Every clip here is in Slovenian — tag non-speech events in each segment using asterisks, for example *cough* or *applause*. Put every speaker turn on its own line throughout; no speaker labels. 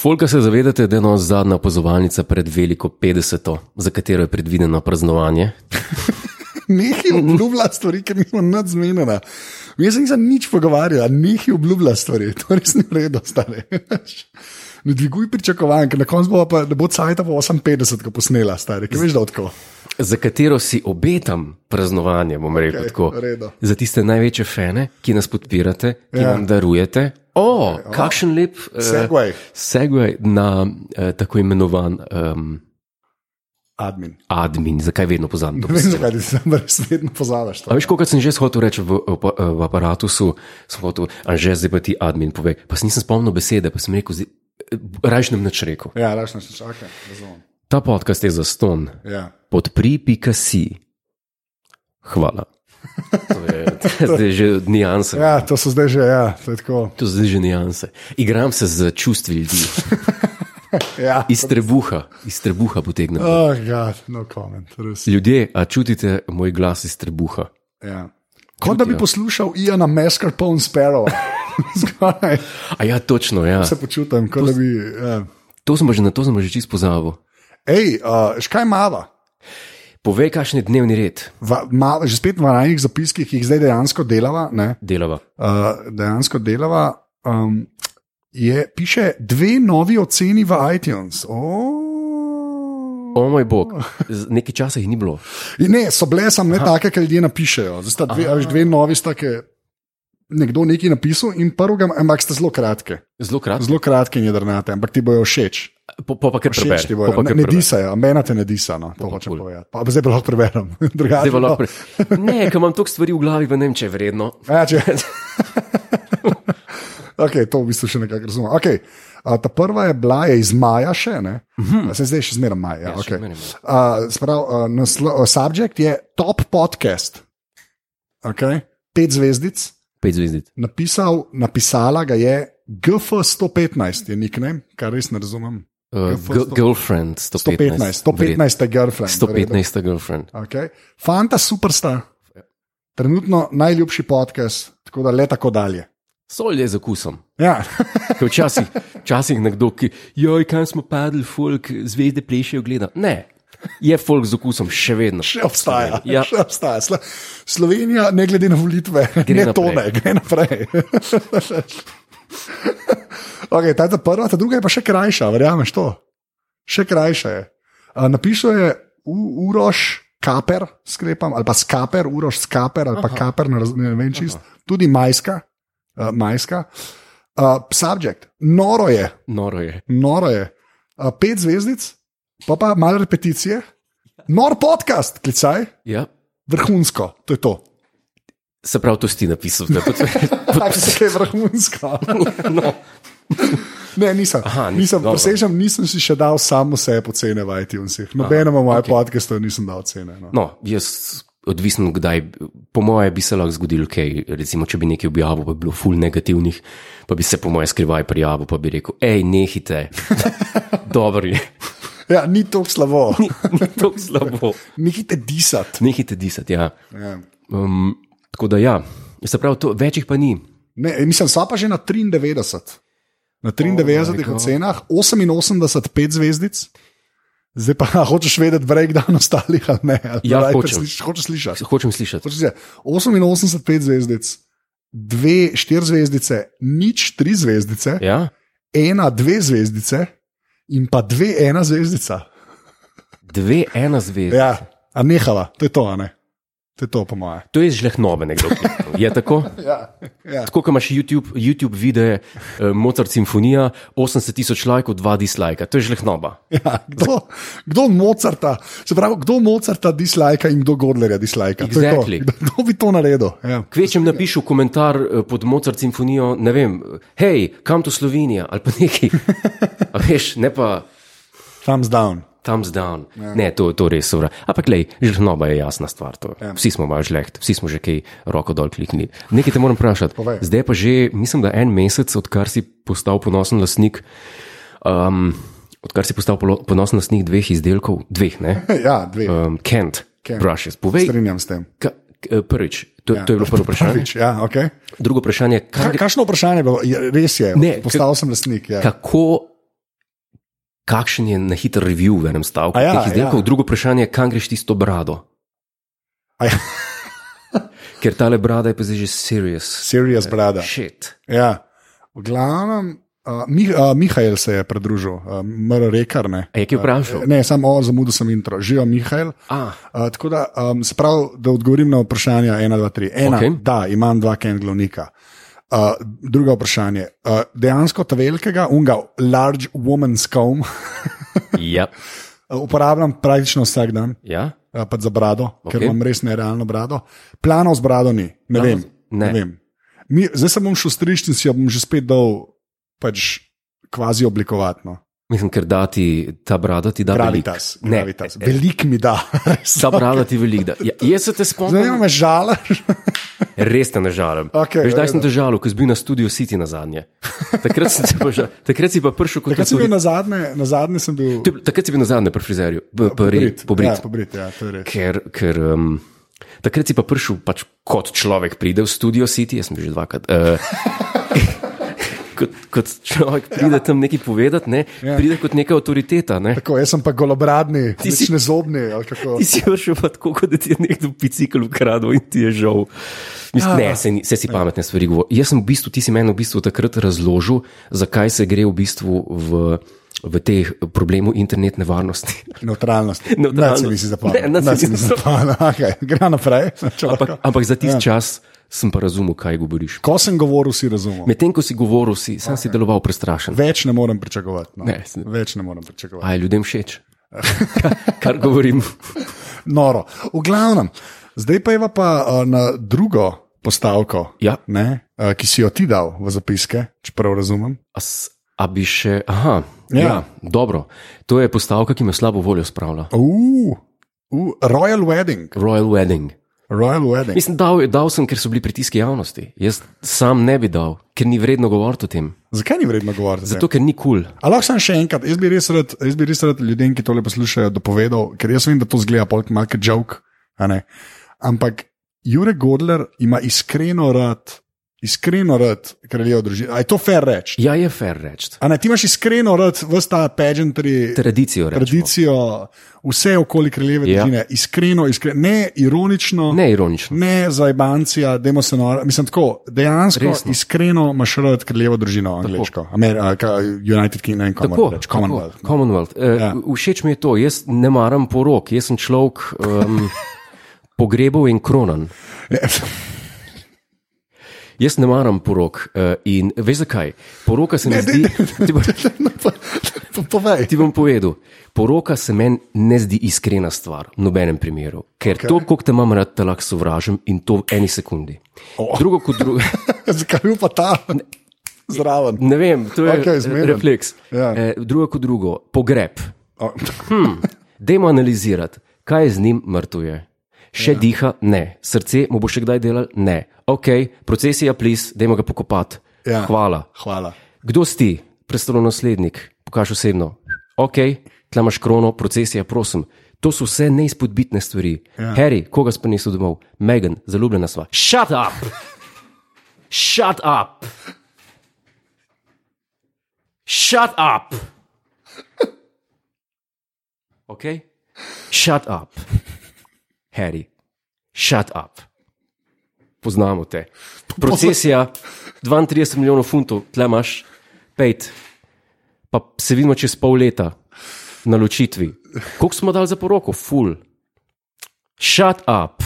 Folka se zavedate, da je nos zadnja opazovalnica pred veliko 50, za katero je predvideno praznovanje.
Nekaj obljublja stvari, ker nismo nad zmenjena. Jaz se nisem nič pogovarjal, nekaj obljublja stvari, *laughs* to res ni vredno, stare. Ne dviguj pričakovanj, ker na koncu bo pa ne bo cajta po 58, ko posnela, stare, ki veš, da odko.
za katero si obetam praznovanje, bom rekel okay, tako.
v redu.
Za tiste največje fane, ki nas podpirate, ki
Ja.
ja. nam darujete. O, okay, kakšen lep eh,
Segway.
segway na eh, tako imenovan um,
*laughs* Admin.
admin, zakaj vedno pozabim to
Ne vem,
besedo.
zakaj ti se res vedno pozavaš.
A veš, kot sem že hotel reči v, v, v aparatu, sem hotel, a že zdaj pa ti admin pove. Pa se nisem spomnil besede, pa sem rekel, eh, rajšnem nač rekel.
Ja, rašno še čakaj, razumem.
Ta podcast je za ston,
Ja.
podpri.si. Hvala. To je,
*laughs*
to je že nijanse.
ja, to so zdaj že, ja, to je tako.
To so zdaj že nijanse. Igram se z čustvi ljudi,
Ja.
iz trebuha, iz trebuha potegnem.
Oh, God, no comment, res.
Ljudje, a čutite moj glas iz trebuha?
Ja. Kot da bi poslušal Iana Mascarpone Sparrow. *laughs* Zgoraj
A ja, točno, ja.
se počutim, kot da bi. Ja.
To sem pa že na to sem pa že čist pozabil.
Ej, uh, škaj mava.
Povej, kakšen je dnevni red
Va, ma, že spet v ranjih zapiskih, ki jih zdaj dejansko delava, ne,
delava.
uh, dejansko delava um, je, piše dve novi oceni v iTunes. Oh.
O moj bog, z- nekaj časa jih ni bilo.
Ne, so bile samo ne take, ki ljudje napišejo. Zdaj sta dve, a veš, dve novi sta, ki nekdo nekaj napisal in prvega, ampak sta zelo kratke.
Zelo kratko.
Zelo kratke in jedrnate, ampak ti bojo všeč.
Po, po pa kar
Všeč
preberem.
ti bojo.
Po pa
Ne,
kar
ne
preberem.
disajo, mena te ne disa, no, to hočem
kul.
povedati. Pa zdaj pa lahko preberem. *laughs* Drugače no.
Zdaj pa
pa- *laughs*
lahko pre- Ne, ker imam toliko stvari v glavi, pa ne vem, če je vredno.
Ja, *laughs* če... okay, to v bistvu še nekako razumem. Okay. A, ta prva je bila je iz maja, še ne. Mm. Se zdaj še zmeraj maja. Ja,
Mhm. Ja, še
okay.
zmeraj maja.
A, sprav, a, naslo, a, subject je top podcast. Okay. Pet zvezdic,
Pet zvezdic.
napisal, napisala ga je GF115, je nickname, kar res ne razumem.
Uh,
Girlfriend
gi- girlfriend 115.
115, 115 je girlfriend. v redu.
115. girlfriend.
Okay. Fanta superstar, trenutno najljubši podcast, tako da le tako dalje.
Sol je z okusom.
Ja. *laughs*
Ker včasih, *laughs* včasih nekdo, ki joj, kam smo padli, folk zvezde plešejo, gleda. Ne, je folk z okusom še vedno.
Še obstaja.
Ja.
Ja. Še obstaja. Slo Slovenija, ne glede na volitve, gre
Gre
ne
naprej.
tone, gre naprej. *laughs* okay, ta je ta prva, ta druga je pa še krajša, verjameš to. Še krajša je. A, Napišel je U- Uroš Kaper, sklepam, ali pa Skaper, Uroš Skaper ali pa Aha. Kaper, ne, raz- ne vem čist, Aha. tudi Majska. Uh, majska. Uh, subject, noro je,
Noro je.
noro je. Uh, pet zvezdic, pa pa malo repeticije, nor podcast, klicaj,
Ja.
vrhunsko, to je *laughs* to.
Se pravi, to si ti napisal. da pod- pod-
Tako se je vrhunsko.
no.
Ne, nisem. Aha,
Aha,
nisem,
ni-
nisem
dobro.
presežem, nisem si še dal samo sebe ocene v iTunesih. Nobenemu mojemu okay. podcastu nisem dal ocene. No.
*laughs* no, jaz. Odvisno, kdaj, po moje, bi se lahko zgodilo, kaj, recimo, če bi nekaj objavil, pa bi bilo ful negativnih, pa bi se, po moje, skrivaj prijavil, pa bi rekel: hej, nehite, *laughs* dobro je, *laughs*
Ja, ni to slabo,
ni, ni tako slabo,
nehite disati.
nehite disati. Ja.
Ja.
Um, tako da, ja, se pravi, to, večjih pa ni.
Ne, mislim, sva pa že na 93. Na 93 oh ocenah, 88, 5 zvezdic. Zdaj pa *laughs* a, hočeš vedeti breakdown ostalih, ali ne? Ali
Ja,
raje
hočem.
presliš- Hočeš slišati.
Hočem slišati.
Hočeš reči, 88, 5 zvezdic, 2, 4 zvezdice, nič, 3 zvezdice, ja.
Ja?
ena, 2 zvezdice in pa 2, 1 zvezdica.
Dve, ena zvezda. Ja.
Ja, a nehala, to je to, a ne. To je to, po moje.
To je žlehnobe, nekdo. kliknil. Je tako?
Ja, ja.
Tako, kot imaš YouTube, YouTube videe, eh, Mozart simfonija, 80 tisoč lajkov, 2 dislajka, to je žlehnoba.
*laughs* Ja, kdo, kdo Mozarta, se pravi, kdo Mozarta dislajka in kdo Godlerja dislajka. To je to.
Exactly.
Kdo- Kdo bi to naredil? Ja.
Kvečem napiš v komentar eh, pod Mozart simfonijo, ne vem, hej, kam to Slovenija ali pa neki. A veš, ne pa
Thumbs down.
thumbs down. Ja. Ne, to, to res sovra. Ampak, lej, žlehnoba je jasna stvar. To. Ja. Vsi smo malo žleht, vsi smo že kaj roko dol kliknili. Nekaj te moram vprašati.
Povej.
Zdaj je pa že, mislim, da en mesec, odkar si postal ponosen lastnik. Um, Odkar si postal polo- ponosen lastnik dveh izdelkov, dveh, *laughs* ne?
*laughs* Ja, dve.
Um, Kent,
Kent.
Kent. brushes. Povej,
Strinjam s tem.
ka, k- prvič, to, ja. to je bilo prvo vprašanje.
Prvič, ja, okay.
Drugo vprašanje,
Ka,
kar,
kakšno vprašanje je bilo? Je- Res je,
Ne,
postal sem lastnik. Ja.
kako kakšen je na hiter review v enem stavku
A ja,
teh izdelkov,
ja.
drugo vprašanje je, kam greš ti s to brado.
A ja.
*laughs* Ker tale brada je pa zdaj že serious.
Serious brada.
Shit.
Ja. V glavnem, uh, Mih, uh, Mihajl se je pridružil, uh, mr rekar. Ne,
A je kaj vprašal?
ne samo o zamudil sem intro, živijo Mihajl.
A,
Uh, tako da, um, se pravi, da odgovorim na vprašanje 1, 2, 3. Ena,
Okej.
okay. da, imam dva kendlovnika. Uh, drugo vprašanje. Uh, dejansko ta velikega, unga, large woman's comb, *laughs*
ja.
uporabljam praktično vsak dan,
ja.
uh, pač za brado, okay. ker
Okej.
imam res nerealno brado. Planov z brado ni, ne
Planov
vem.
z- ne.
vem. Mi, zdaj se bom šel striščen in si jo bom že spet dal pač kvazi oblikovatno.
Mislim, ker da ti ta brada ti da veliko.
Gravitas,
Ne.
gravitas. Velik mi
*laughs*
da.
Ta
*laughs*
brada ti veliko da. Ja, jaz se te
Zanima
spomnim,
me žalaš.
*laughs* res te ne žalim.
Okej,
Veš,
v
kdaj
redu.
sem te žalil, ko si bil na studiu City na zadnje. Takrat, sem te pa žal- takrat si pa prišel kot
Takrat sem bil na zadnje, na zadnje sem bil.
To je bilo- Takrat si bil na zadnje pri frizerju,
Pobrit. Ja,
pobrit.
pobrit, ja, to je res.
Ker, ker um, takrat si pa prišel pač kot človek, pride v studio City, jaz sem bil že dvakrat. Uh, *laughs* kot, kot človek pride ja. tam nekaj povedati, ne? ja. pride kot neka avtoriteta. Ne?
Tako, jaz sem pa golobradni, ti
si-
si nezobni. ali kako.
Ti si prišel pa tako, kot da ti je nekdo bicikl ukradel in ti je žal. Mislim, ne, se, se si pametne stvari govori. Jaz sem v bistvu, ti si meni v bistvu takrat razložil, zakaj se gre v bistvu v, v teh problemu internetne varnosti.
Neutralnost.
Neutralnost.
Nič si nisi zapomnil.
Ne, nič si
Nič si
nisi
nisi zapomnil. *laughs* Okay, gre naprej. če
Ampak,
lahko.
ampak za tisti ja. čas sem pa razumel, kaj govoriš.
Ko sem govoril, si razumel.
Medtem ko si govoril, si, sam okay. si deloval prestrašen.
Več ne morem pričakovati. No.
Ne, se-
Več ne morem pričakovati.
A je ljudem
*laughs*
všeč, kar, kar govorim.
Noro. V glavnem, zdaj pa je pa uh, na drugo postavko,
Ja.
ne, uh, ki si jo ti dal v zapiske, če prav razumem.
A, s- a bi še. Aha,
Ja.
ja. Ja, dobro. To je postavka, ki me slabo voljo spravlja.
Uh, uh, Royal Wedding.
Royal Wedding.
Royal Wedding.
Mislim, dal, dal sem, ker so bili pritiski javnosti. Jaz sam ne bi dal, ker ni vredno govoriti o tem.
Zakaj ni vredno govoriti?
Zato, ker ni kul. Cool.
Ali lahko samo še enkrat, jaz bi res rad, jaz bi res rad ljudem, ki tole poslušajo, dopovedal, ker jaz vem, da to zgleda polk malce joke. a ne. Ampak Jurek Godler ima iskreno rad, iskreno rad kraljev družine. A je to fair reči?
Ja, je fair reči.
A ne, ti imaš iskreno rad vse ta pageantry,
Tradicijo reči.
tradicijo, vse okoli kraljeve
Ja.
družine. Iskreno, iskreno, ne ironično.
Ne ironično.
Ne za ibancija, dajmo se nora. Mislim, tako, dejansko, Resno.
Resno.
iskreno imaš rad kraljevo družino, angliško, Amerika, United Kingdom in
Tako,
Commonwealth. Commonwealth.
tako, Commonwealth. Uh,
Ja.
ja. Všeč mi je to, jaz ne maram porok, jaz sem človek um, pogrebov in kronan. Jaz ne maram porok uh, in veš zakaj? Poroka se mi
Ne,
zdi.
ne, *laughs*
Ti, bo,
No, pa- pa Povej. *laughs*
ti bom povedal, poroka se meni ne zdi iskrena stvar, v nobenem primeru. Ker okay. to, koliko te imam rad, te lahko sovražim in to v eni sekundi.
O.
Oh. Drugo kot drugo. *laughs*
Zakaj je bil pa ta zraven?
Ne vem, to je
Okej,
okay,
zmeden.
refleks.
Ja.
Eh, drugo kot drugo, pogreb.
O, *laughs*
Dajmo analizirati, kaj je z njim mrtvuje. Še ja. diha, ne, srce mu bo še kdaj delal, ne. Ok, proces je aplis, dajmo ga pokopati.
Ja.
Hvala.
Hvala. *laughs*
Kdo si ti, prestolonaslednik, pokaži osebno. Ok, tle imaš krono, proces je, prosim. To so vse neizpodbitne stvari. Ja.
Ja.
Harry, koga si prinesel domov? Megan, zaljubljena sva. Shut up! Shut up! Shut up! Ok? Shut up. Harry, shut up. Poznamo te. Procesija, 32 milijonov funtov, tle imaš, pejt. Pa se vidimo čez pol leta na ločitvi. Koliko smo dali za poroko? Ful. Shut up.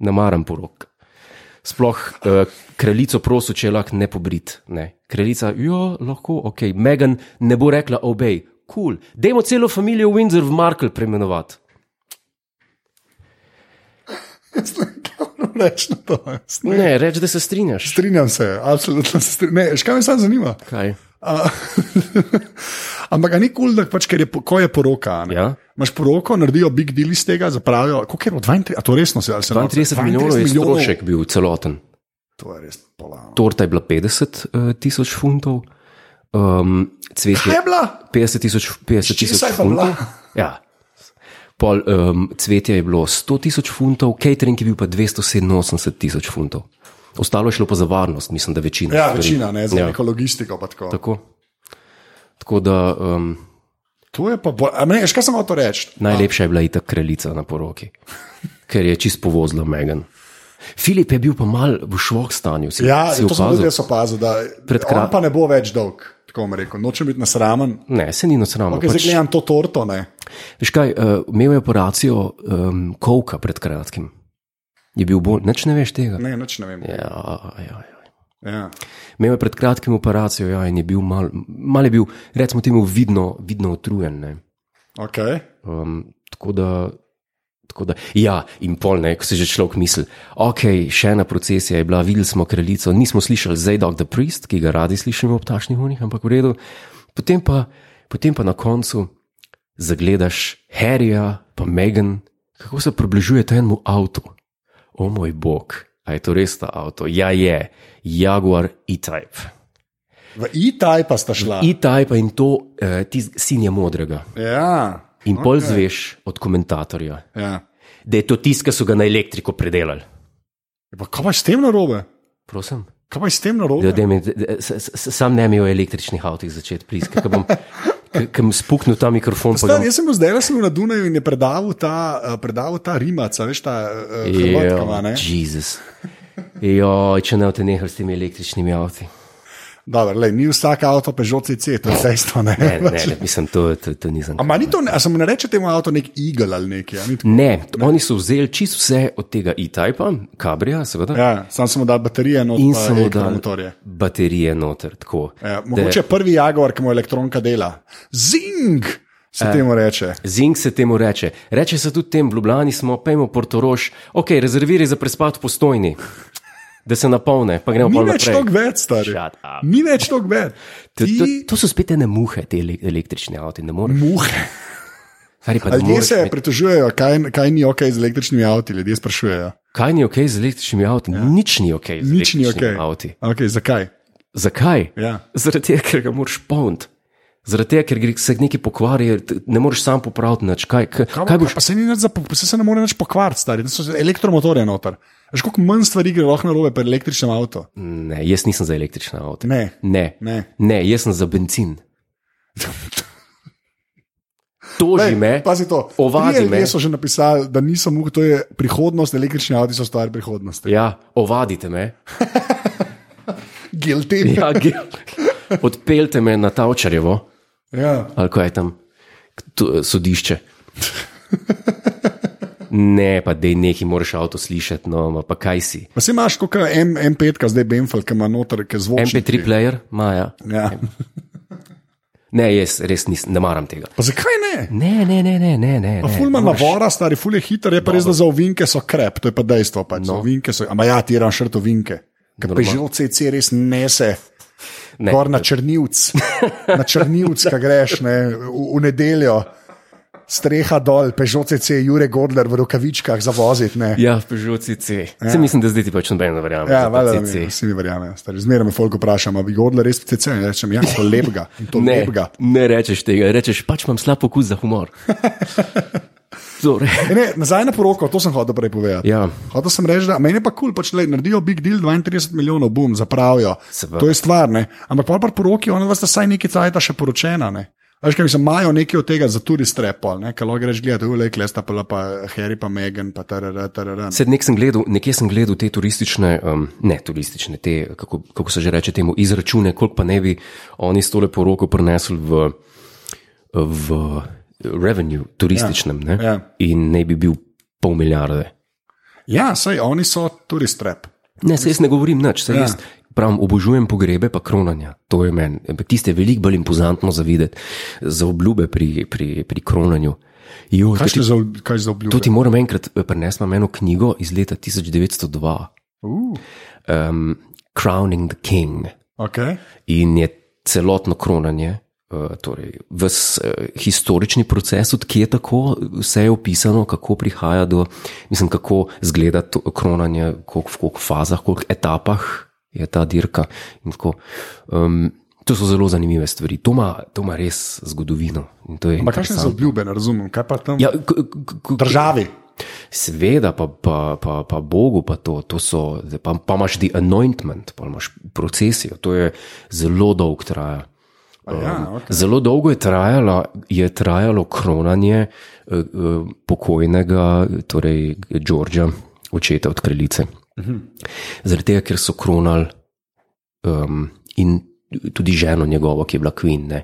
Ne maram porok. Sploh uh, kraljico prosil, če je lahko ne pobrit. Ne. Kraljica, jo, lahko, ok. Megan ne bo rekla, obej, kul. Cool. Dajmo celo družino Windsor v Markle preimenovati.
Jaz ne vem, kaj moram reči na to. Jaz ne-
Ne, reči, da se strinjaš.
Strinjam se, absolutno se strinjam. Ne, še kaj me samo zanima.
Kaj?
A- *laughs* Ampak a ni kul, da pač, ker je, po- ko je poroka. a ne.
Ja.
Imaš poroko, naredijo big deal iz tega, zapravijo. Koliko je bilo? 32, a to resno se ali se norca?
32 milijonov je strošek bil celoten.
To je res polano.
Torta je bila 50 uh, tisoč funtov, um,
Kaj
cvetje
je bila?
50 tisoč, 50 tisoč
Česa je pa bila? *laughs*
funtov. Ja. Pol, um, cvetje je bilo 100 tisoč funtov, catering je bil pa 287 tisoč funtov. Ostalo je šlo pa za varnost, mislim, da večina.
Ja,
stvari.
večina, ne, za ja.
Ja.
neko logistiko. pa Tako.
Tako. Tako da, um,
To je pa bolj. a Ne, veš, kaj sem hotel reči?
Najlepša je bila itak kraljica na poroki, ker je čist povozila Megan. Filip je bil pa mal v švok stanju, si,
Ja,
si
to sem tudi
opazil.
jaz opazil, da
Pred kra-
on pa ne bo več dolg. Tako bom rekel, nočem biti nasramen.
Ne, se ni nasramno.
Okay, pač... Zdaj
Pač,
gledam to torto, ne.
veš kaj, uh, imel je operacijo um, Kovka pred kratkim. Je bil bolj, nič ne veš tega.
Ne, nič ne vem.
Ja, ja, ja.
Ja.
Imel je pred kratkim operacijo ja, in je bil mal, mal je bil, recimo, temu vidno, vidno utrujen. Ne.
Okay.
Um, tako da. Tako da, ja, in pol ne, ko se že človek misli, ok, še ena procesija je bila, videli smo kraljico, nismo slišali Zajdok the Priest, ki ga radi slišimo ob tašnih unih, ampak v redu. Potem pa, potem pa na koncu zagledaš Harryja, pa Megan, kako se približujete enemu avtu. O moj bog, a je to res ta avto? Ja, je, Jaguar E-Type.
V E-Type pa sta šla.
E-Type in to eh, tis- sinja modrega.
Ja.
In okay. pol zveš od komentatorja.
ja.
da je to tisto, ki so ga na elektriko predelali.
Pa kaj pa je s tem narobe?
Prosim.
Kaj pa je s tem narobe?
Da, mi, da, da, s- s- s- sam ne mi o električnih avtih začeti priskati, ker bom ke- ke bom spuknil ta mikrofon. pa ga
Star,
bom-
jaz sem bil zdaj le na Dunaju in je predaval ta, eh, predaval ta Rimac, a veš, ta eh, Hrvatka.
Jo,
ma, ne?
Jezus. Joj, če ne boste nehali s temi električnimi avti.
Dobro, lej, Ni vsak avto Peugeot CC, to je vse isto. Ne? *laughs*
Ne, ne, ne, mislim, to, to, to nisem.
A, ma, ni to, ne- a se mu ne reče temu avtu nek igel ali nekaj? a Ni tako?
Ne, t- oni so vzeli čisto vse od tega e-typa, kabrija, seveda, ja,
ja, sam sem mu dal baterije not,
in
pa
samo
elektromotorje.
da baterije noter. Tako.
Ja, mogoče je prvi Jaguar, ki mu elektronka dela. Zing! Se
E.
temu reče.
Zing se temu reče. Reče se tudi tem, v Ljubljani smo, pejmo Portorož, ok, rezerviraj za prespat v postojni, da se napolne, pa gremo
Ni
pa
več
naprej.
toliko več, stari.
Shut up.
Ni več toliko več.
To, to,
Ti Mm.
to so spet ene muhe, te ele- električne avte, ne moreš.
muhe.
Stari, pa ne
Ljudje
moreš
se
imeti-
pritožujejo, kaj, kaj ni ok z električnimi avti, ljudje sprašujejo.
Kaj ni ok z električnimi avti? Ja. Nič ni ok z
Nič ni ok.
električnimi avti.
okay zakaj?
Zakaj?
Ja.
Zaradi tega, ker ga moraš polniti. Zaradi tega, ker gre- se nekaj pokvari, t- ne moreš sam popraviti nič. Kaj, kaj,
Kaj,
kaj boš?
Pa se, ni nič za, po- saj se ne more več pokvariti, stari, da so elektromotorje noter. Že koliko manj stvari gre lahko na robe pri električnem avtu.
Ne, jaz nisem za električne avte.
Ne.
Ne.
Ne.
ne, jaz sem za benzin. Toži me,
Pazi to.
Ovadi
Trije
me.
Ljudje so že napisali, da niso mogli, to je prihodnost, električni avti so stvar prihodnosti.
ja, ovadite me,
Guilty.
ja, ge- odpeljte me na Tavčarjevo
Ja.
ali kaj je tam, k- tu, eh, sodišče. Ne, pa dej neki, moraš avto slišati, no, ma pa kaj si.
Pa se imaš kot M, M5, zdaj Benfel, ki ima noter, ki zvoči.
MP3 player, maja.
Ja.
Ne, jaz res nis, ne maram tega.
Pa zakaj ne?
Ne, ne, ne, ne, ne. ne, ne.
Ful ima navora, stari ful je hiter, je pa res, da za ovinke so krep, to je pa dejstvo. Pač. No. Ovinke so, ama ja, ti ran šrt ovinke. Ker Peugeot CC res nese.
Ne.
Ne. Gor na črnivc, na črnivc, ki greš ne, v, v nedeljo, streha dol, Peugeot CC, Jure Gordler v rokavičkah za voziti. Ja,
Ja, Peugeot CC. Ja. Se mislim, da zdaj ti pač noben ne verjame.
ja
za ta
valjda, da
CC.
mi, vsi mi verjamejo. stari. Zmeraj me folk vpraša, ali Gordler res CC, in rečem, ja, *laughs* to lepega, in to
Ne,
lepega.
ne rečeš tega, rečeš pač imam slab okus za
*laughs*
humor. Zore.
E, Ne, nazaj na poroko, to sem hotel prej povedati.
Ja.
Hotel sem reči, da meni je pa kul, cool, pač le naredijo big deal, 32 milijonov, bum, zapravijo.
Seveda.
To je stvar, ne. Ampak pa pa poroki, ona vas vsaj neki cajta še poročena, ne. A Veš, kaj mislim, imajo nekaj od tega za tudi strepol, ne, kalo greš gledati, ulej, klesta pa, pa Harry, pa Megan, pa tarara, tarara.
Sed nek sem gledal, nekje sem gledal te turistične, um, ne turistične, te, kako, kako se že reče temu, izračune, koliko pa ne bi oni s tole poroko prenesli v, v revenue, turističnem. Ne?
ja.
In ne bi bil pol milijarde.
Ja, sej, oni so tudi strep.
Ne, se jaz ne govorim nič, se
Ja.
jaz pravim, obožujem pogrebe, pa kronanja. To je meni. Ampak Tiste je veliko bolj impozantno za videti, za obljube pri, pri, pri kronanju. Jo, to, ti,
Kaj, ti, za, ob- kaj za
to
obljube?
ti moram enkrat eh, prenesti, imam eno knjigo iz leta 1902,
Uh,
um, Crowning the King.
okay.
In je celotno kronanje, uh, torej ves uh, historični proces, odkje je tako, vse je opisano, kako prihaja do, mislim, kako zgleda to kronanje, koliko, v koliko fazah, koliko etapah je ta dirka. in tako. Um, to so zelo zanimive stvari. To ima, to ima res zgodovino. in to je
Pa kakšne so
interesantno.
obljube, ne razumem, kaj pa tam?
Ja, k- k- k-
Državi.
Seveda, pa, pa, pa, pa Bogu pa to, to so, pa, pa imaš the anointment, pa imaš procesijo, to je zelo dolg traja. Um,
A Ja, okay.
Zelo dolgo je trajalo, je trajalo kronanje eh, eh, pokojnega, torej Đorđa, očeta od kraljice.
Mhm.
Zaradi tega, ker so kronali um, in tudi ženo njegovo, ki je bila kvinne,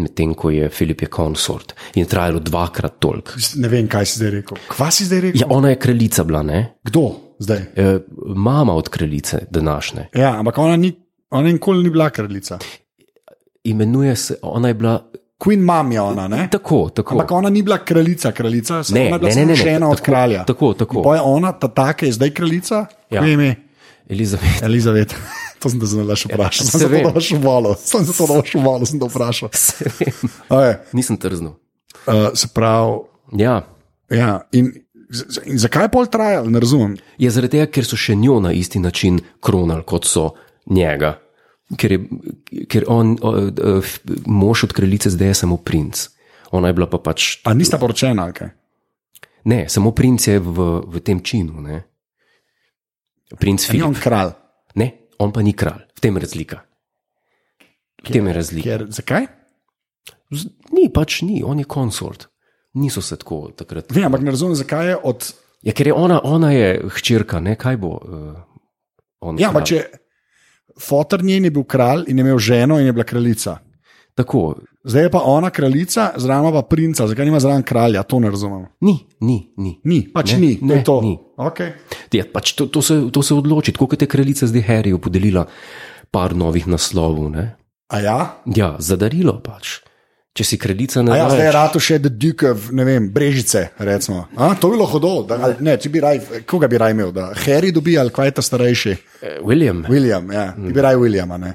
medtem ko je Filip je konsort. In je trajalo dvakrat toliko.
Ne vem, kaj si zdaj rekel. Kva si zdaj rekel?
Ja, ona je kraljica bila, ne?
Kdo zdaj?
E, mama od kraljice današnje.
Ja, ampak ona, ni, ona nikoli ni bila kraljica.
Imenuje se, ona je bila
Queen Mom je ona, ne?
tako, tako.
Ampak ona ni bila kraljica, kraljica, samo
Ne,
ona je bila
ne, ne, ne,
samo
ne,
še ena od
tako,
kralja.
tako, tako.
In pol je ona, ta taka je zdaj kraljica,
Ja.
ja. ime
Elizabeth. *laughs*
Elizabet. *laughs* To sem te zelo laž vprašal,
Ja, se
sem se
vem.
to vaš valo, sem se to vaš valo, sem to vprašal.
Se vem,
Okay.
Nisem trznil.
Uh, se pravi,
Ja.
ja, in, z- z- in zakaj je pol trajal, ne razumem.
Je Ja, zaradi tega, ker so še njo na isti način kronali, kot so njega. Ker je ker on, o, o, f- mož od kraljice, zdaj je samo princ. Ona je bila pa pač.
A nista poročena ali kaj?
Ne, samo princ je v, v tem činu. Ne? Princ
Ni
Filip.
on kralj.
Ne, on pa ni kralj, v tem je razlika. V tem je razlika.
Ker, zakaj?
Z- Ni pač ni, on je konsort. Niso se tako takrat.
Vem, ampak ne razumem, zakaj je od.
Ja, ker je ona, ona je hčerka, ne kaj bo. Uh, on
Ja, ampak
kralj.
če. Fotor njen je bil kralj in je imel ženo in je bila kraljica.
Tako,
Zdaj je pa ona kraljica, zraven pa princa, zakaj nima zraven kralja, to ne razumem.
ni, ni, ni.
Ni, pač
Ne,
ne, ni, to
ne,
je to.
ni.
Okay.
Ja, pač to, to, se, to se odloči, tako kot je kraljica zdaj Harryju podelila par novih naslovov. Ne?
A ja,
Ja, za darilo pač. Če si kraljica
A
ne
ja zdaj je
daje,
rado še dedukov, ne vem, brežice. Recimo. A, to bi bilo hodo, da, ali, ne, če bi raj, koga bi raj imel, da Harry dobi ali kaj je ta starejši,
eh, William.
William, ja, ti bi raj Williama. Ne.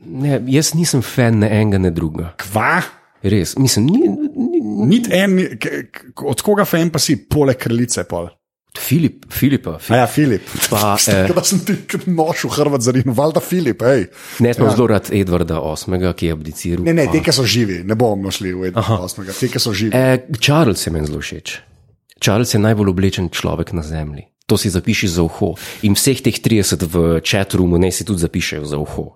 Ne, jaz nisem fan ne enega, ne drugega.
Kva?
Res, mislim, ni, ni, ni
Nit en, ni- k- k- od koga fan pa si, poleg kraljice pol.
Filip, Filipa. Filip.
A ja, Filip. *laughs*
Pa, eh,
Kada sem ti k- noč v Hrvat zarinu, valjda Filip, hej.
Ne, smo ja. zelo rad Edvarda VIII., ki je abdiciral.
Ne, ne, te, ki so živi, ne bomo šli v 1.8. Te, ki so živi.
E, Charles je meni zelo všeč. Charles je najbolj oblečen človek na zemlji. To si zapiši za uho. In vseh teh 30 v četrunu ne si tudi zapišejo za uho.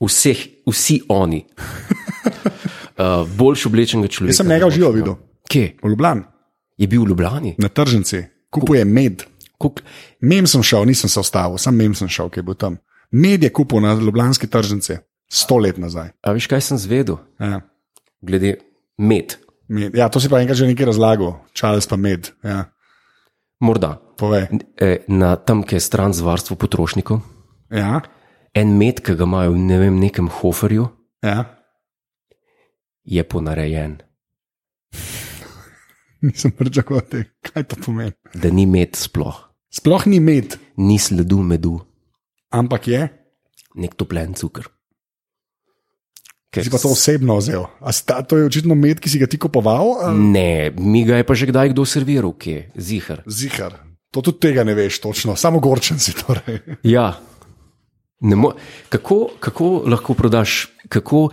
Vseh, vsi oni. *laughs* Uh, boljš oblečenega človeka.
Jaz sem njega v živo videl,
Kje?
v Ljubljani,
Je bil v Ljubljani?
na tržnici, kupuje med.
Kuk...
Mem sem šel, nisem se ustavil, sam mem sem šel, ki je bil tam. Med je kupil na Ljubljanski tržnici, sto let nazaj.
A veš, kaj sem zvedel?
Ja.
Glede med.
Med. ja, to si pa enkrat že nekaj razlagal, Charles pa med. Ja.
Morda.
Povej.
E, na tam, kjer je stran z varstvo potrošnikov.
Ja,
En med, ki ga imajo v ne vem, nekem hoferju,
ja. *laughs*
je ponarejen.
Nisem pričakoval tega, kaj to pomeni.
da ni med sploh,
Sploh ni med,
ni sledu medu,
ampak je.
nek toplen cukr.
Si pa to osebno vzel. A sta, to je očitno med, ki si ga ti kupoval? ali-
Ne, mi ga je pa že kdaj kdo serviral, kje, zihar.
Zihar. To tudi tega ne veš točno, samo gorčen si torej. *laughs*
Ja. Ne Mo kako, kako lahko prodaš, kako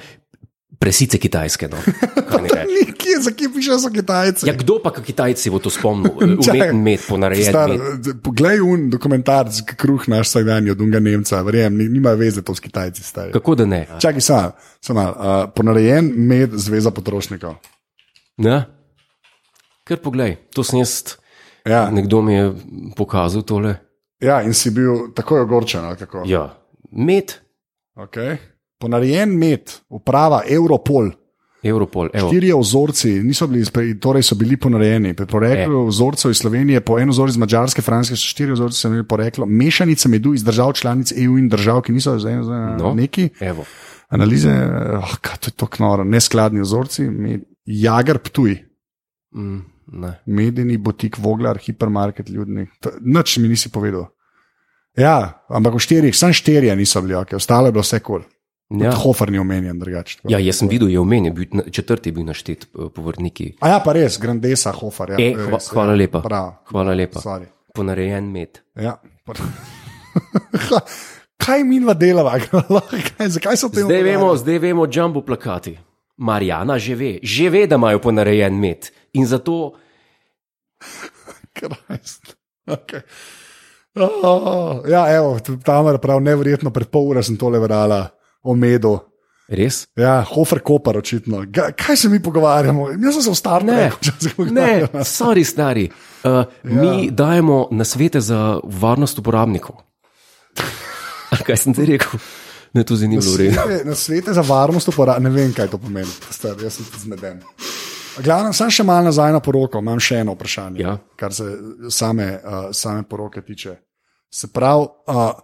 presice kitajske? No? Kaj naj
*laughs*
rečem.
Nekje, za kje piše, so Kitajci.
Ja, kdo pa, kot Kitajci, bo to
*laughs*
spomnil? Umeten med, ponarejen
Star, eh,
med.
d- Poglej, un dokumentarc, ki kruh naš vsakdanji od unga Nemca, verjamem, ni- nima veze to s Kitajci. stari.
Kako da ne?
Čakaj, sam, sam, uh, ponarejen med Zveza potrošnikov.
ne? Ker poglej, to sem jaz,
Ja,
nekdo mi je pokazal tole.
ja, in si bil takoj ogorčen. ali kako?
Ja, med,
Okay. Ponarejen med, uprava Europol,
Europol, evo.
štirje vzorci, niso bili, izpre- torej so bili ponarejeni. Po poreklu
E.
vzorcev iz Slovenije, po en vzorec iz Mačarske, Francije, so štiri vzorci, so imeli poreklo, mešanica medu iz držav članic EU in držav, ki niso za eno
No.
no. neki.
evo.
analize, oh, kaj to je to knoro, neskladni vzorci, med, jagar ptuj,
Mm, ne.
medeni botik, voglar, hipermarket, ljudni. To- Nič mi nisi povedal. Ja, ampak v štirih, samo štirje niso bili, okay. ostalo je bilo vse kul. Cool. Ja.
Ja.
Hofer ni omenjen drugače.
ja, jaz sem videl, je omenjen, bil na- četrti je bil naštet eh, po vrniki.
A ja, pa res, Grandesa, Hofer. Ja,
E, hva,
res,
hvala lepa.
Prav,
Hvala lepa.
sorry.
Ponarejen med.
Ja. *laughs* kaj mi dva delava, *laughs* Kaj- zakaj so te
Zdaj vemo, zdaj vemo, jumbo plakati. Marijana že ve, že ve, da imajo ponarejen med. In zato
Krajst. Okay. Oh, ja, evo, tam je prav nevrjetno, pred pol ure sem tole verjela o medu.
Res?
Ja, Hofer Koper, očitno. Ga, kaj se mi pogovarjamo? Jaz sem se v startu *laughs*
Ne,
včasih
ne,
pogovarjal.
sorry, stari. Uh, ja. Mi dajemo nasvete za varnost uporabnikov. A Kaj sem ti rekel? Ne, to zdaj ni bilo v redu.
Svete- Na svete za varnost uporablja, ne vem, kaj to pomeni. Star, jaz sem tudi zmeden. Glavno, sam še malo nazaj na poroko, imam še eno vprašanje,
Ja.
kar se same, uh, same poroke tiče. Se pravi, uh,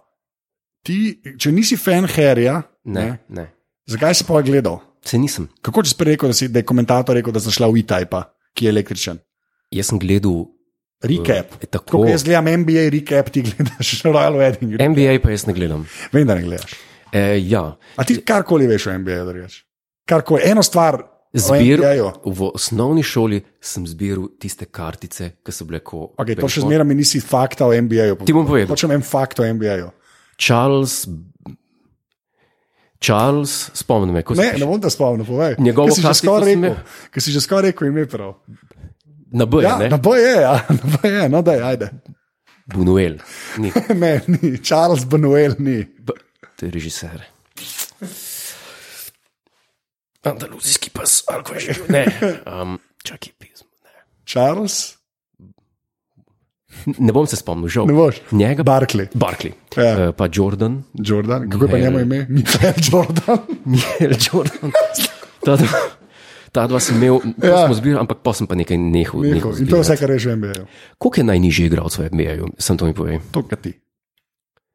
ti, če nisi fan Harryja,
Ne, ne.
zakaj si pa gledal?
Se nisem.
Kako če si prej rekel, da, si, da je komentator rekel, da sem šla v E-Type, ki je električen?
Jaz sem gledal
Recap.
eh, tako.
Ko jaz gledam NBA, recap ti gledaš *laughs* Royal Wedding.
NBA pa jaz ne gledam.
Vem, da ne gledaš.
E, ja,
A ti karkoli veš o NBA, da rečeš? Karkoli, eno stvar. o
Zbir,
NBA-ju.
v osnovni šoli sem zbiral tiste kartice, ki so bile kot.
Okay, to še zmeraj mi nisi fakta o NBA-ju.
Ti bom povedal.
Hočem en fakt o NBA-ju.
Charles, Charles spomnim me, kot
Ne, ne bom te spomnil, povej.
Njegovo
Ker si že
klasiko
skoraj
sem
rekel,
imel.
ker si že skoraj rekel ime prav.
na B,
Ja,
ne?
na B je, ja, *laughs* na B je, no daj, ajde. *laughs*
Bunuel, ni,
Ne, ni, Charles Benuel ni.
B, to je režiser. Andaluzijski pas, ali kaj že. Ne, um, čakaj, pismo. Ne.
Charles?
ne bom se spomnil, žal.
Ne boš.
Njega Bar
Barkley,
Barkley,
Ja.
ja. pa Jordan,
Jordan, kako je pa
Michael.
njemu ime? Michael Jordan. *laughs*
Mihael Jordan. Ta dva, ta dva sem imel,
Ja.
ja. smo zbirali, ampak pa sem pa nekaj nehal. nehal
Michael. In to je vse, kar reš v NBA-ju.
Koliko je najnižji igralec v NBA-ju, sem to mi povedal.
To, kar ti.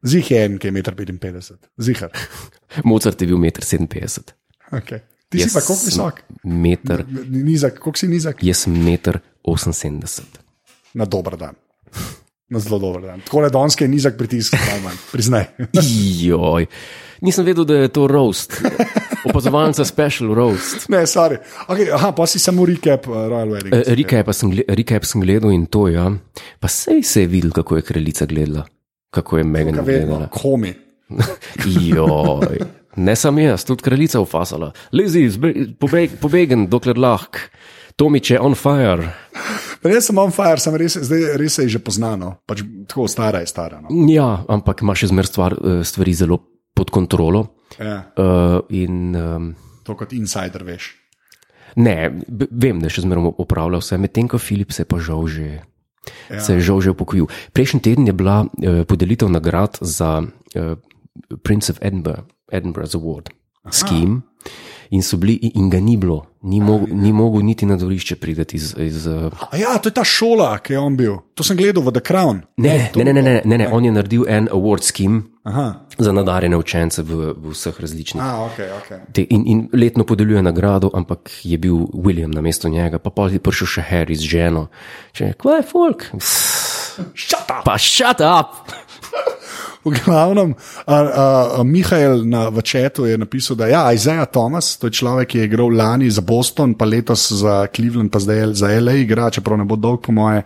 Zih je en, ki je 1,55 m, zihar. *laughs*
Mozart je bil 1,57
Okay. Ti yes. si
Jaz
pa koliko visok?
m. Meter,
Ni- Nizak, koliko si nizak?
jaz sem 1,78 m.
Na dober dan. Na zelo dober dan. Tako le donski je nizak pritisk, najmanj, priznaj. *laughs*
Joj, nisem vedel, da je to roast. Opazovalnica special roast.
Ne, sorry. Okay, aha, pa si samo recap uh, Royal Wedding.
Eh, Recap pa sem, gle- recap sem gledal in to, ja. Pa sej se je videl, kako je kraljica gledala, kako je Megan
Kaj vedno,
gledala. *laughs*
komi.
Joj. Ne samo jaz, tudi kraljica ufasala. Lezi, zbe- pobeg, pobegen, dokler lahk. Tomič je on fire.
Res sem on fire, sem res, zdaj res se je že poznano, pač tako stara je stara. No.
Ja, ampak ima še zmer stvar, eh, stvari zelo pod kontrolo.
Ja,
Uh, in um,
to kot insider veš.
ne, b- vem, da še zmeraj upravlja vse, medtem ko Filip se je pa žal že. Ja. Se je žal že upokojil. Prejšnji teden je bila uh, podelitev nagrad za uh, Prince of Edinburgh, Edinburgh's Award, s kim. In so bili, in ga ni bilo, ni, mog, ni mogel niti na dvorišče priti iz. iz eh,
A ja, to je ta šola, ki je on bil. To sem gledal v The Crown.
ne, ne, ne, ne, ne, ne, ne, on je naredil en award skim
Aha.
za nadarjene učence v, v vseh različnih
A, ok, ok.
Te, in, in letno podeljuje nagrado, ampak je bil William na mestu njega, pa pa je prišel še Harry z ženo. Če, kaj je folk?
Šata!
Pa shut up!
V glavnem, a, a, a Mihajl na večetu je napisal, da je ja, Isaiah Thomas, to je človek, ki je igral lani za Boston, pa letos za Cleveland, pa zdaj za LA igra, čeprav ne bo dolg, po moje,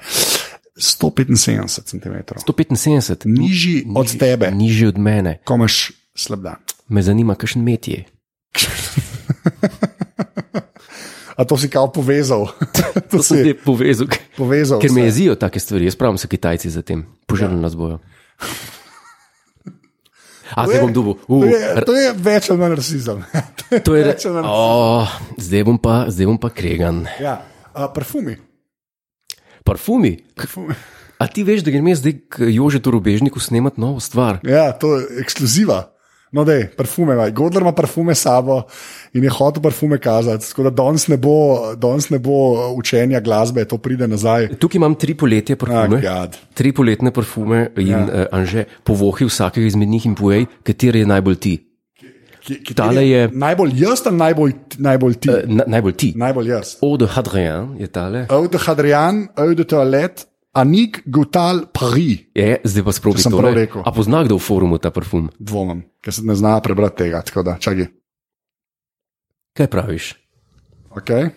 175 cm.
175,
Nižji od tebe,
nižji od mene.
komaš slab dan.
Me zanima, kakšen met je.
A to si kao povezal? *laughs*
To
to
sem
si
ti povezal, ker-
povezal.
ker me
vse.
jezijo take stvari. Jaz pravim se Kitajci za tem, požrli nas *laughs* bojo. A zdaj bom dobil.
To
Uh,
je, to je več ali manj rasizem. *laughs*
to je
več ali manj.
oh, zdaj, bom pa, zdaj bom pa kregan.
Ja. A, parfumi.
Parfumi.
Parfumi.
A ti veš, da grem jaz zdaj k Jožetu Rubežniku snemati novo stvar?
*laughs* Ja, to je ekskluziva. No, da je parfume, vaj. Godler ima parfume s sabo in je hotel parfume kazati. Tako da danes ne, bo- danes ne bo uh, učenja glasbe, to pride nazaj.
Tukaj imam tri poletje parfume.
Ah, gad.
Tri poletne parfume in ja. uh, anže, povohi vsakega izmed njih in povej, kateri je najbolj ti.
Ki- ki-
Tale je-
Najbolj jaz ali najbolj, najbolj ti? Uh,
Eh, Na, najbolj ti.
najbolj jaz.
Ode Hadrian je tale.
Aude Hadrian, Aude Toilet, Anik Gutal Paris.
Je, zdaj pa sprobaj
sem
to.
prav
ne?
rekel.
A pozna kdo v forumu ta parfum?
Dvomim, ker se ne zna prebrati tega. tako Da, čakaj.
Kaj praviš?
okay.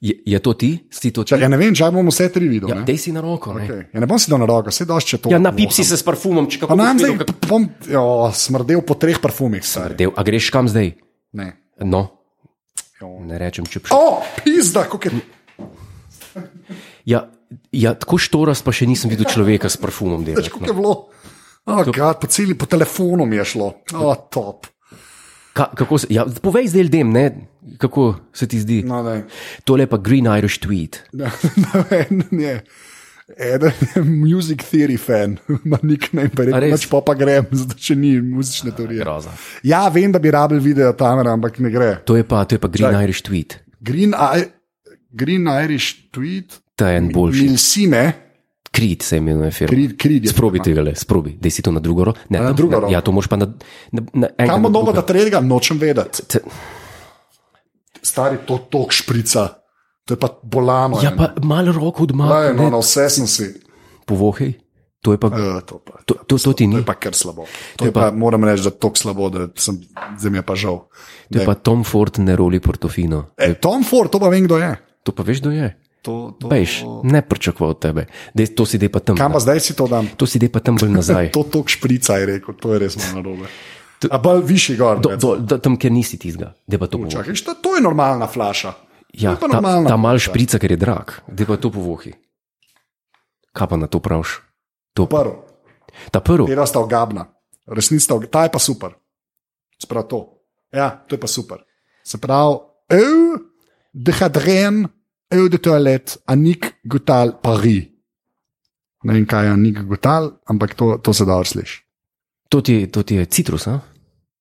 Je, je to ti? Si to ti?
Čak, ja ne vem, če bom vse tri videl.
Ja,
ne?
dej si na roko. ne.
okay. ja, ne bom si dal na roko, vse došče
Ja,
to.
na pipsi se s parfumom, če
Pa
kako boš
nam zdaj
vedel, kako-
bom jo, smrdel po treh parfumih. stari.
Del, a greš kam zdaj?
Ne.
No,
Jo.
ne rečem, če prišel.
O, pizda, kako je.
Ja, ja, tako štoras pa še nisem videl človeka s parfumom delati.
Kako je bilo? Oh, God, po, celi, po telefonu mi je šlo, oh, top.
Ka, kako se, ja, povej zdaj ljudem, ne, kako se ti zdi. No.
No, daj. *laughs*
Tole je pa Green Irish tweet.
Da, da, eden je. Eden je music theory fan, *laughs* ima nek naj
A
pa reče,
res?
pač pa pa grem, *laughs* zato če ni muzične teorije.
Groza.
Ja, vem, da bi rabil video tam, ampak ne gre.
To je pa, to je pa Green
Čakaj.
Čaj. Irish tweet.
Green, I, Green Irish tweet,
Ta je en boljši.
Milsime,
Krit se imenuje firma.
Creed, Creed je.
Sprobi tega, le, sprobi, da si to na drugo roko. Ne,
A na
tam-
drugo
ne,
roko.
Ja, to moš pa na. na, na enkrat
Kam
na
od
drugo.
novega tretjega, nočem vedeti.
Te-
Stari to tok šprica, to je pa bolano.
Ja,
eno.
pa malo roko
Daj,
odmakne,
no,
no, no.
na vse sem si.
povohej. To je pa,
Uh, to, pa,
to, to, to ti
to je
ni.
pa kar slabo. To je pa, moram reči, da je tako slabo, da sem zdaj mi je pa žal.
To je pa Tom Ford ne roli portofino.
E, Tom Ford, to pa vem, kdo je.
To pa veš, kdo je.
To, to...
Veš, ne pričakoval od tebe. Dej, to si dej pa tam.
Kam pa zdaj si to dam?
To si dej pa tam bolj nazaj.
*laughs* To tok šprica je rekel, to je res malo narobe. A bolj višji gor.
Do, do, do, tam, kjer nisi tizga, da pa to povohi.
Čakaj, šta, to je normalna flaša.
Ja,
to je pa
ta, ta
normalna.
mal šprica, ker je drag, da pa to povohi. Kaj pa na to praviš? To, pa-
Prvo,
ta prvi,
tera sta ogabna, resnica sta ogabna, ta je pa super. Sprav to. Ja, to je pa super. Se pravi, eu, dehadren, eu de toalet, anik gutal pari. Ne vem, kaj je anik gutal, ampak to, to se dobro sliši.
to ti, to ti je citrus, a?
Ne,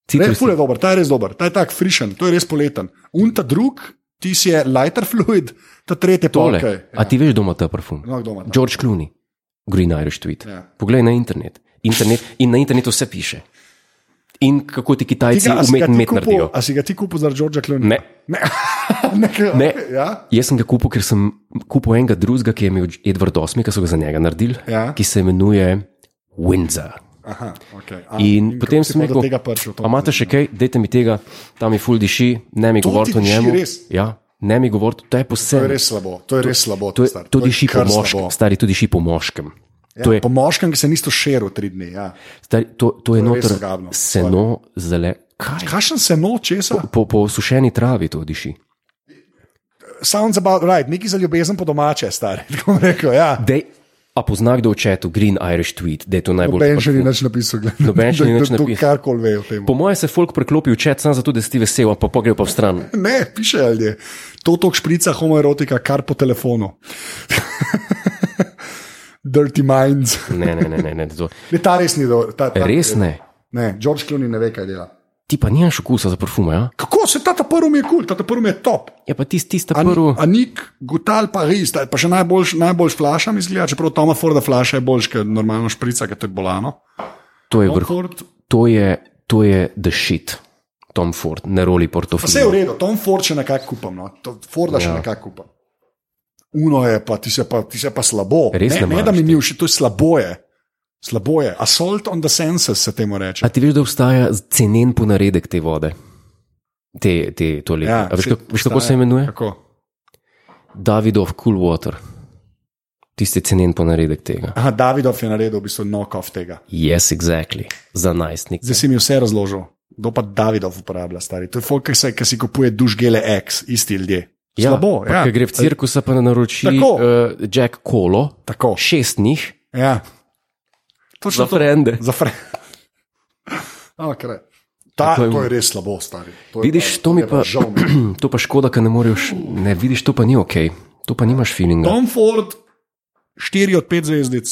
Citrus.
ful je dober, ta je res dober, ta je tak frišen, to je res poleten. Un ta drug, ti si je lighter *laughs* fluid, ta tretji je
Tole.
polkaj.
A ti veš, doma ta parfum?
ja. No, kdo ima to?
George Clooney, Green Irish tweet.
Ja.
Poglej na internet. internet. In na internetu vse piše. In kako ti Kitajci
Tega, a si
umetno
ga ti
met
kupil-
naredijo.
A si ga ti kupil zaradi Georgea Clooney?
Ne.
Ne. *laughs* ne, kaj-
Ne.
Ja?
Jaz sem ga kupil, ker sem kupil enega drugega, ki je imel Edward VIII, ki so ga za njega naredili,
Ja.
ki se imenuje Windsor.
Aha, okay. a,
In potem
kako si
sem
pa do
rekel,
tega prišel, to
A imate še kaj, dajte mi tega, tam mi ful diši, ne mi
To
govorite
ti
o
diši
njemu.
res?
Ja, ne mi govorite, to je
To je
posebno.
res slabo, to je res slabo.
To, je-
star,
to diši po
kar slabo.
moškem, stari, to diši po moškem.
Ja,
To je,
Po moškem, ki se nisi širil tri dni. Ja.
stari, to, to je
to je res
noter
ogabno.
seno, zele, kaj.
Kašen se no, česa?
Po, po sušeni travi to diši.
Sounds about right, neki za ljubezen po domače, stari. *laughs* Tako bom rekel, ja.
Dej, a pozna kdo v četu Green Irish tweet, da je to najbolj
Noben še ni nič napisal, gledaj.
Noben še No, ni nič napisal.
Karkoli ve o tem.
Po mojem se folk preklopi v čet, samo zato, da si ti vesel, pa pa gre pa v stran.
Ne, piše ali je. To tok šprica homoerotika, kar po telefonu. *laughs* Dirty minds.
Ne, ne, ne, ne, ne
*laughs*
to.
Ne, ta res ni dobro. ta- ta-
res ne.
Ne, George Clooney ne ve, kaj dela.
Ti pa nimaš okusa za parfume, ja?
Kako se ta ta prvi je kul, cool, ta ta prvi je top.
Je pa tisti, tisti
A-
prvi.
A nik, gutal pa res, ta je pa še najboljš, najboljš flaša, mislim, čeprav Toma Forda flaša je boljš, ker normalno šprica, ker to je bolano.
To je
Tom
vrh.
Ford,
To je, to je the shit, Tom Ford, ne roli
pa vse je v
portofilj.
redu, Tom Ford še nekako kupam, no. To- Forda še
Ja.
nekako kupam. Uno je pa, ti se pa, ti se pa slabo.
Res
ne,
ne
ne
maraš
da mi ni všeč, to je slabo je. Slabo je. Assault on the senses se temu
A
reče.
ti veš, da obstaja cenen ponaredek te vode? Te, te, to lepo.
Ja,
Ja, veš,
se-
kako, veš, kako se
obstaja.
imenuje?
Kako?
Davidov Cool Water. Tisti cenen ponaredek tega.
Aha, Davidov je naredil v bistvu knock-off tega.
Yes, exactly. Za najstnik.
Zdaj si mi vse razložil. Kdo pa Davidov uporablja, stari? To je folk, ki, se, ki si kupuje duš gele X, isti ljudje. Slabo,
pa
ja.
Ker gre v cirkus, pa ne naroči
Tako.
uh, Jack Kolo,
Eh, Tako.
šest njih,
Ja.
za
Točno to.
frende.
Za *laughs* fre. Okay. Ta,
Tako je-
to je res slabo, stari. To je
Vidiš, to mi
je
pa,
žal. mi je.
*clears throat* to pa škoda, ker ne moreš, ne vidiš, to pa ni ok, to pa nimaš feelinga.
Tom Ford, 4 od 5 zvezdic.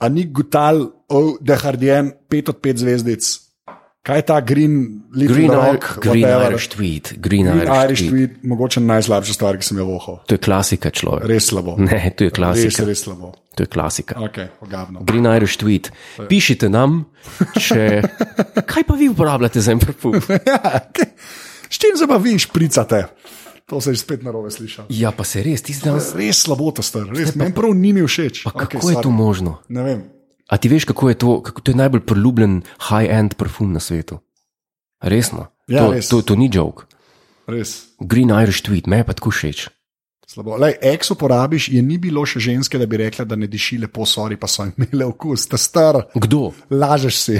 A ni Gutal, oh, da Hardien, 5 od 5 zvezdic. kaj je ta Green, Little
Green,
Rock,
Rock, Green
whatever?
Irish tweet, Green,
Green
Irish,
Irish
tweet.
tweet, mogoče najslabša stvar, ki sem jo vohal.
To je klasika človek.
Res slabo.
Ne, to je
Res,
Mm, klasika.
res slabo.
To je klasika.
Okay, ogabno. *laughs*
Green Irish tweet. Pišite nam, če. Kaj pa vi uporabljate za en parfum?
S čim se pa vi špricate? To se je spet na robe slišal.
Ja, pa se res, ti znaš.
Res slabo to star, res meni prav ni mi všeč.
Pa
Okej,
kako je
sorry.
to možno?
Ne vem.
A ti veš, kako je to? Kako, to je najbolj priljubljen high-end parfum na svetu. Resno.
Ja,
to,
res.
to, to ni joke.
Res.
Green Irish tweet, me je pa tako všeč.
Slabo. Lej, ex uporabiš, je ni bilo še ženske, da bi rekla, da ne diši lepo, sorry, pa so imele okus, ta star,
Kdo?
lažeš si.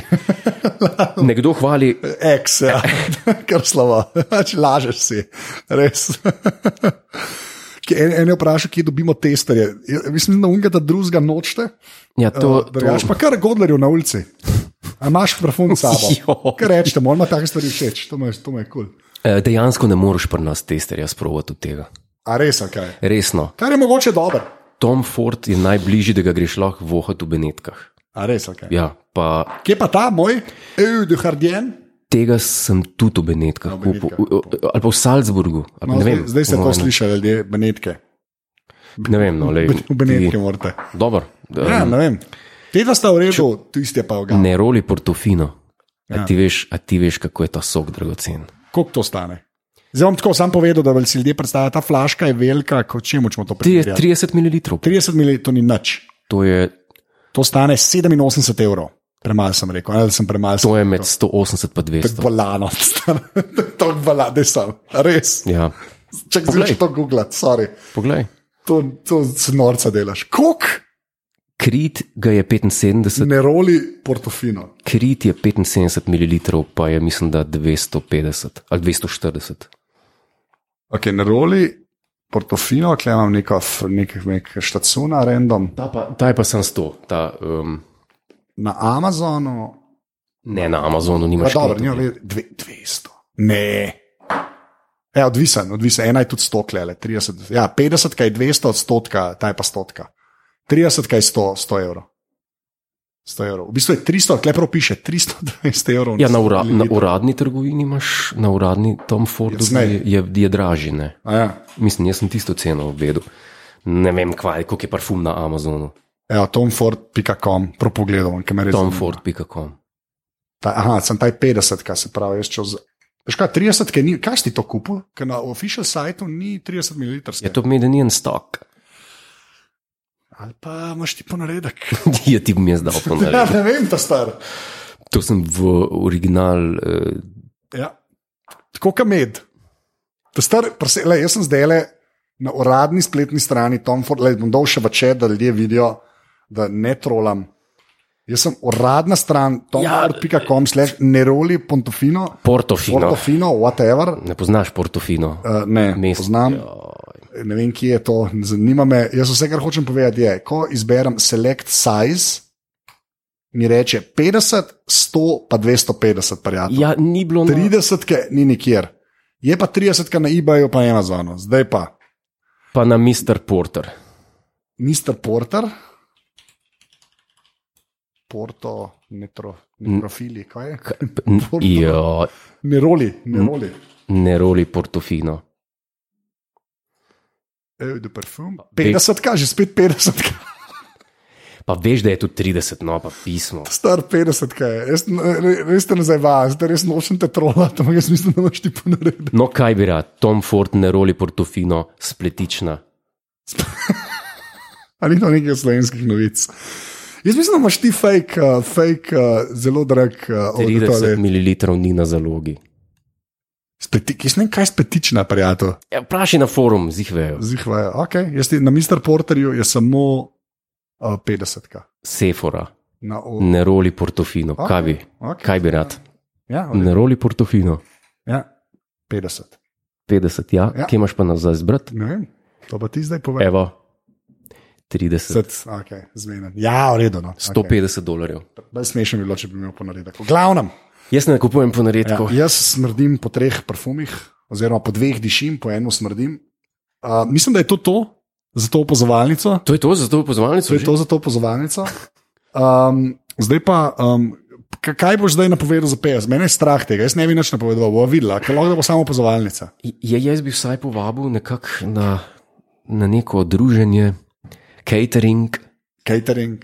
*laughs*
Nekdo hvali,
Ex, ja. *laughs* kar slabo, pač lažeš si, res. *laughs* Ki- En, en je vprašal, kje dobimo testerje. Ja, Mislim, da unga ta drugega nočete,
ja, to,
drugač
to,
pa kar godlerju na ulici. A imaš mikrofon s sabo.
*laughs* Jo.
Kaj rečete, moram take stvari všeč, to me, to me je kul. Cool.
Eh, Dejansko ne moreš pri nas testerja sprovati od tega.
A res, kaj je.
Resno,
Kar je mogoče dobro.
Tom Ford je najbližji, da ga greš lahko vohati v Benetkah.
A res, kaj je.
Ja, pa
Kje pa ta moj, EU de Hardien?
tega sem tudi v Benetkah
No, v
kupil,
Benetkah,
v- v- ali pa v Salzburgu. ali pa
No,
ne
zdaj,
vem,
zdaj se
po
to
mojem.
sliši, ljudje, Benetke.
Ne vem, no, lej,
V Benetke morate.
Dobro, da,
Ja, ne vem. Te dva sta v redu, tisti je pa ga.
eh, ne roli portofino. Ja. A, ti veš, a ti veš, kako je ta sok dragocen.
Koliko to stane? Zdaj bom tako sam povedal, da si ljudje predstavljajo, ta flaška je velika, kot če močemo to
Ti je
primerjati.
30 ml,
30 ml to ni nič.
to je,
To stane 87 evrov. Premalo sem rekel, ali sem premalo
to je
sem
med 180 in 200.
Bolano, *laughs* stane. to je balade sem, res.
Ja.
Če
Poglej.
greš to googlati, sorry.
Poglej,
To, to se norca delaš. Kok
krit ga je 75,
ne roli portofino.
krit je 75 ml, pa je mislim, da 250 ali 240.
Ok, ne roli portofino, klej imam neko, f- nek, nek štacuna, random.
Ta, pa, ta je pa sem 100, ta, um,
Na Amazonu,
ne na Amazonu,
pa
nimaš
dobro,
krita.
njo, ve, dve, 200. Ne. Ja, odvisen, odvisen. Ena je tudi 100, klele, 30. Ja, 50 kaj je 200, od 100, ta je pa 100. 30 kaj je 100, 100 evrov. 100 evrov. V bistvu je 300, klepro piše 320 evrov.
Ja, na, ura, na
mililitrov.
uradni trgovini imaš, na uradni Tom Fordu
Jasneje.
je, je, je dražji. Ne?
A Ja.
Mislim, jaz sem tisto ceno vedel. Ne vem, kva je, koliko je parfum na Amazonu.
Evo, tomford.com, propogledal, ki me res. zanima.
Tomford.com.
Ta, aha, sem taj 50, kaj se pravi, jaz čez. Veš kaj, 30, kaj, ni, kaj si ti to kupil, ker na official sajtu ni 30 ml.
Je to pomeni, da ni en *laughs* stok.
Ali pa imaš ti ponaredek.
Ja, ti bi mi jaz dal
*laughs* ja,
ponaredek.
ne vem, ta star.
To sem v original. Eh,
Ja. Tako kot med. Ta star, prse, le, jaz sem zdaj le na uradni spletni strani Tomford, le bom dol še večer, da ljudje vidijo, da ne trolam. Jaz sem uradna stran tomford.com, slash neroli, pontofino,
Portofino.
portofino, whatever.
Ne poznaš Portofino.
Uh, ne, ne
Mest- ja.
poznam.
Joj.
ne vem, kje je to, ne zanima me. Jaz vse, kar hočem povedati, je, ko izberem select size, mi reče 50, 100, pa 250, prijatelj.
Ja, ni bilo na
30, ki ni nikjer. Je pa 30, ki na eBayu, pa je Amazonu, zdaj pa.
Pa na Mr. Porter.
Mr. Porter, Porto, netro, nekrofili, kaj je?
K- p- n-
Porter.
Ja,
Neroli, neroli.
ne roli Portofino.
Eau de parfum. 50, kaže spet 50.
Pa veš, da je tu 30, no pa pismo.
*laughs* Star 50, kaj je. Jaz, re- res te ne zajvaš, zdaj res nočem te trolati, ampak jaz mislim, da imaš ti ponaredek.
No, kaj bi rad, Tom Ford, ne roli Portofino, spletična.
Ali ni to nekaj slovenskih novic? Jaz mislim, da imaš ti fake, uh, fake uh, zelo drag uh,
30
odličen.
ml ni na zalogi.
Jaz ne vem, kaj je spetična, prijatelj.
Ja, Vprašaj na forum, zihvejo.
Zihvajo. Okay. Jaz ti, na Mr. Porterju je samo uh, 50. -ka.
Sefora,
Na, o,
ne roli Portofino.
Ok,
Mm, Kaj bi,
ok.
kaj bi rad?
ja, v redu.
Ne roli Portofino.
ja, 50.
50, ja,
Ja.
ja. kje imaš pa nazaj zbrat?
Ne vem, to pa ti zdaj povem.
Evo, 30,
50, okay, zmeden. ja, v redu. No.
150 okay. dolarjev.
Okay. Smešno bi bilo, če bi imel ponaredek. V glavnem.
Jaz ne kupujem po naredku. Ja.
Ja, jaz smrdim po treh parfumih, oziroma po dveh dišim, po enem smrdim. Uh, mislim, da je to to za to opazovalnico.
To je to za to
To
pozvalnico?
je to za to opazovalnico. Um, zdaj pa, um, k- kaj boš zdaj napovedal za PS? Mene je strah tega, jaz ne bi nič napovedal, bo videla, ker lahko da bo samo opazovalnica.
Ja, jaz bi vsaj povabil nekako na, na neko druženje, catering.
Catering,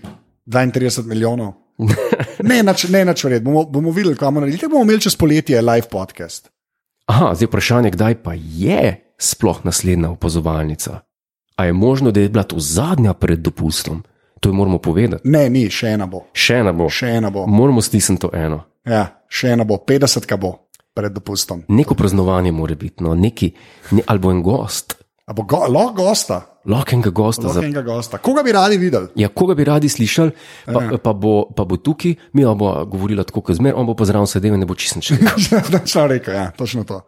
32 milijonov. ne, nič, ne, nič vred, bomo, bomo videli, kaj bomo naredili. Tako bomo imeli čez poletje live podcast.
Aha, zdaj vprašanje, kdaj pa je sploh naslednja opazovalnica? A je možno, da je bila to zadnja pred dopustom? To ji moramo povedati.
Ne, ni, še ena bo.
Še ena bo,
Še ena bo.
moramo stisniti to eno.
Ja, še ena bo, 50 ka bo pred dopustom.
Neko praznovanje mora biti, no, neki, ne, ali bo en gost,
A bo go, lahko gosta,
lahko enega gosta. Za,
lahko enega gosta. Koga bi radi videli?
ja, koga bi radi slišali, pa, pa, bo, pa bo tukaj, mi bo govorila tako, kot zmer, on bo pa zraven sedel in ne bo čisten še.
*laughs* Točno rekel, ja, točno to.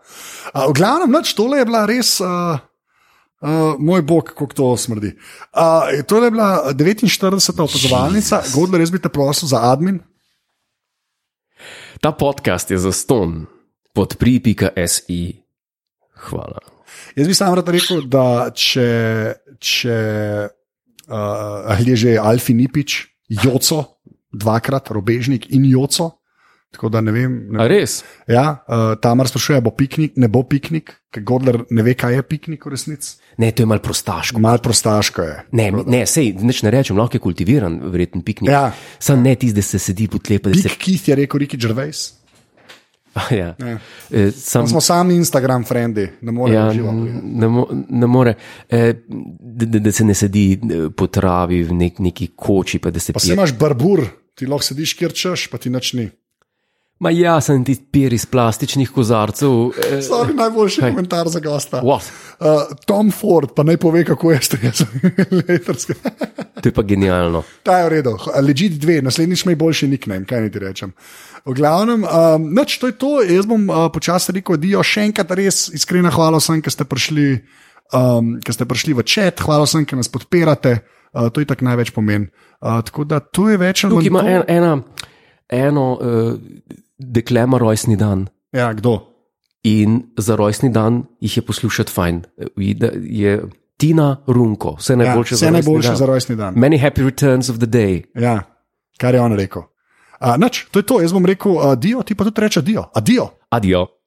A, v glavnem, noč tole je bila res. Uh, Uh, moj bog, kako to smrdi. Uh, to je bila 49. opazovalnica, Godler, jaz bi te prosil za admin.
Ta podcast je za ston pod pri.si. Hvala.
Jaz bi sam rad rekel, da če, če uh, ali je že Alfi Nipič, Joco, dvakrat, robežnik in Joco. Tako da ne vem. Ne
A res?
Ja, uh, Tamar sprašuje, bo piknik, ne bo piknik, ker Godler ne ve, kaj je piknik v resnici.
Ne, to je malo prostaško.
Mal prostaško je.
Ne, mi- ne, sej, nič ne rečem, lahko je kultiviran, verjeten piknik.
Ja.
Sam ne tisti, da se sedi po tlepu, da se. *laughs*
Pik Keith je rekel, Riki Gervais.
Ja. Eh, Sam,
Smo sami Instagram frendi, ne moremo
ja,
ja, živeti.
ne, mo- ne more, eh, da, da- da se ne sedi eh, po travi v nek, neki koči, pa da se
Pa se
pije.
imaš barbur, ti lahko sediš, kjer češ, pa ti nič ni.
Ma ja, sem ti pier iz plastičnih kozarcev. Eh, *laughs*
Slavi najboljši Kaj? komentar za gosta.
what?
Uh, Tom Ford, pa naj pove, kako je stres. *laughs*
To je pa genialno.
Ta je v redu, ležite dve, naslednjič mi je boljši nickname, kaj naj ti rečem. V glavnem, um, noč to je to, jaz bom uh, počasi rekel, dio, še enkrat res iskrena hvala vsem, ki ste prišli, um, ki ste prišli v čet, hvala vsem, ki nas podpirate, uh, to je tako največ pomen. Uh, tako da to je več ali
Tukaj ima
manj
en,
to.
ena, eno eh, dekle ima rojstni dan.
Ja, kdo?
In za rojstni dan jih je poslušati fajn. Eh, Je, je Tina Runko, vse
Ja,
najboljše,
vse najboljše za
dan.
rojstni dan.
Many happy returns of the day.
Ja, kar je on rekel. Uh, noč, to je to, jaz bom rekel, uh, dio, ti pa tudi reče dio, adijo.
Adijo.